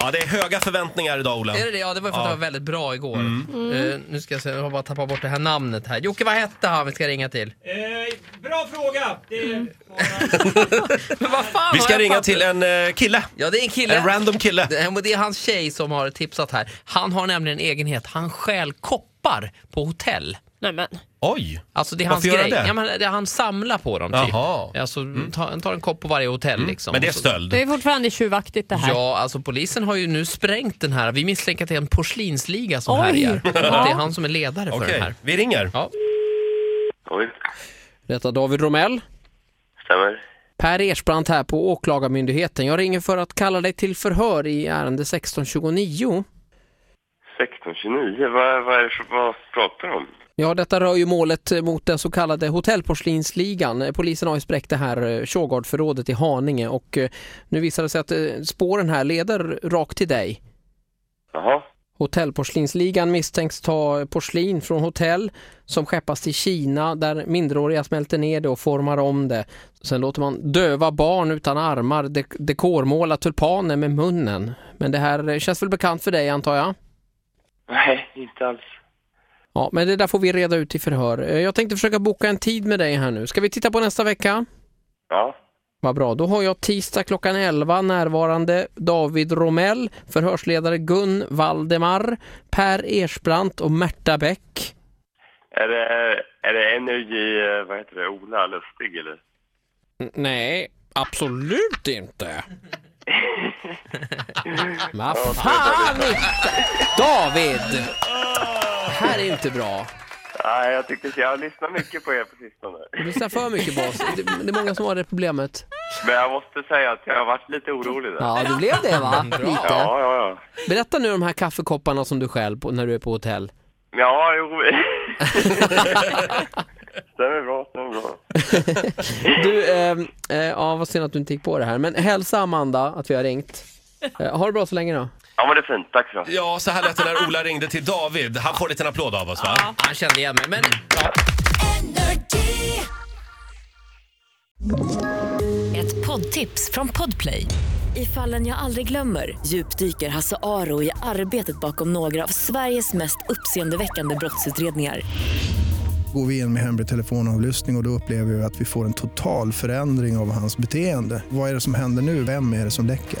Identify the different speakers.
Speaker 1: Ja, det är höga förväntningar idag, Ola.
Speaker 2: Är det det? Ja, det var ju för att det var väldigt bra igår. Eh, nu ska jag se, jag har bara tappat bort det här namnet här. Jocke, vad hette han vi ska ringa till?
Speaker 3: Eh, bra fråga! Det
Speaker 2: Men vad fan
Speaker 1: Vi
Speaker 2: har
Speaker 1: ska
Speaker 2: jag
Speaker 1: ringa
Speaker 2: fattat?
Speaker 1: till en eh, kille.
Speaker 2: Ja, det är en kille.
Speaker 1: En random kille.
Speaker 2: Det- men Det är hans tjej som har tipsat här. Han har nämligen en egenhet, han stjäl koppar på hotell.
Speaker 4: Nej men,
Speaker 1: Oj!
Speaker 2: Alltså det är
Speaker 1: Varför
Speaker 2: hans
Speaker 1: gör han
Speaker 2: grej.
Speaker 1: det?
Speaker 2: Ja, men det- han samlar på dem typ.
Speaker 1: Jaha. Mm.
Speaker 2: Alltså, ta, han tar en kopp på varje hotell liksom.
Speaker 1: Men det är
Speaker 2: Och så-
Speaker 1: stöld.
Speaker 4: det är fortfarande tjuvaktigt det här.
Speaker 2: Ja, alltså polisen har ju nu sprängt den här. Vi misstänker att det är en porslinsliga som
Speaker 4: Oj.
Speaker 2: härjar. Och att det är
Speaker 4: Ja.
Speaker 2: han som är ledare för den
Speaker 1: Okej,
Speaker 2: här.
Speaker 1: vi ringer.
Speaker 2: Ja.
Speaker 5: Oj,
Speaker 2: Detta David Romell.
Speaker 5: stämmer.
Speaker 2: Per Ersbrandt här på Åklagarmyndigheten. Jag ringer för att kalla dig till förhör i ärende 1629.
Speaker 5: 1629, vad, vad är det som, vad pratar du om?
Speaker 2: Ja, detta rör ju målet eh, mot den så kallade hotellporslinsligan. Eh, Polisen har ju spräckt det här eh, Tjågardförrådet i Haninge och eh, nu visar det sig att eh, spåren här leder rakt till dig.
Speaker 5: Jaha,
Speaker 2: Hotellporslinsligan misstänks ta porslin från hotell som skeppas till Kina där minderåriga smälter ner det och formar om det. Sen låter man döva barn utan armar dek- dekormåla tulpaner med munnen. Men det här eh, känns väl bekant för dig antar jag?
Speaker 5: nej, inte alls.
Speaker 2: Ja, men det där får vi reda ut i förhör. Eh, Jag tänkte försöka boka en tid med dig här nu. Ska vi titta på nästa vecka?
Speaker 5: Ja,
Speaker 2: Vad bra, då har jag tisdag klockan 11 närvarande David Romell, förhörsledare Gun Valdemar, Per Ersbrandt och Märta Bäck.
Speaker 5: är det, är det energi, eh, vad heter det, Ola Lustig eller?
Speaker 2: N- Nej, absolut inte. Vad fan inte! David! Oh. Det här är inte bra.
Speaker 5: Nej, jag tyckte så, jag har lyssnat mycket på er på sistone.
Speaker 2: Du lyssnar för mycket på oss. Det, det är många som har det problemet.
Speaker 5: Men jag måste säga att jag har varit lite orolig där.
Speaker 2: Ja, det blev det va? Lite.
Speaker 5: Ja, ja, ja.
Speaker 2: Berätta nu om de här kaffekopparna som du skäl på när du är på hotell.
Speaker 5: Ja, jo. stämmer bra, stämmer bra.
Speaker 2: Du, ehm, eh, ja, vad synd att du inte gick på det här. Men hälsa Amanda att vi har ringt. Eh, ha det bra så länge då.
Speaker 5: Ja, men det är fint, tack så.
Speaker 1: Ja, så här lät det när Ola ringde till David. Han får en liten applåd av oss, va?
Speaker 2: Han kände igen mig, men
Speaker 6: Ett poddtips från Podplay. I fallen jag aldrig glömmer djupdyker Hasse Aro i arbetet bakom några av Sveriges mest uppseendeväckande brottsutredningar.
Speaker 7: Går vi in med hemlig telefonavlyssning och, och då upplever vi att vi får en total förändring av hans beteende. Vad är det som händer nu? Vem är det som läcker?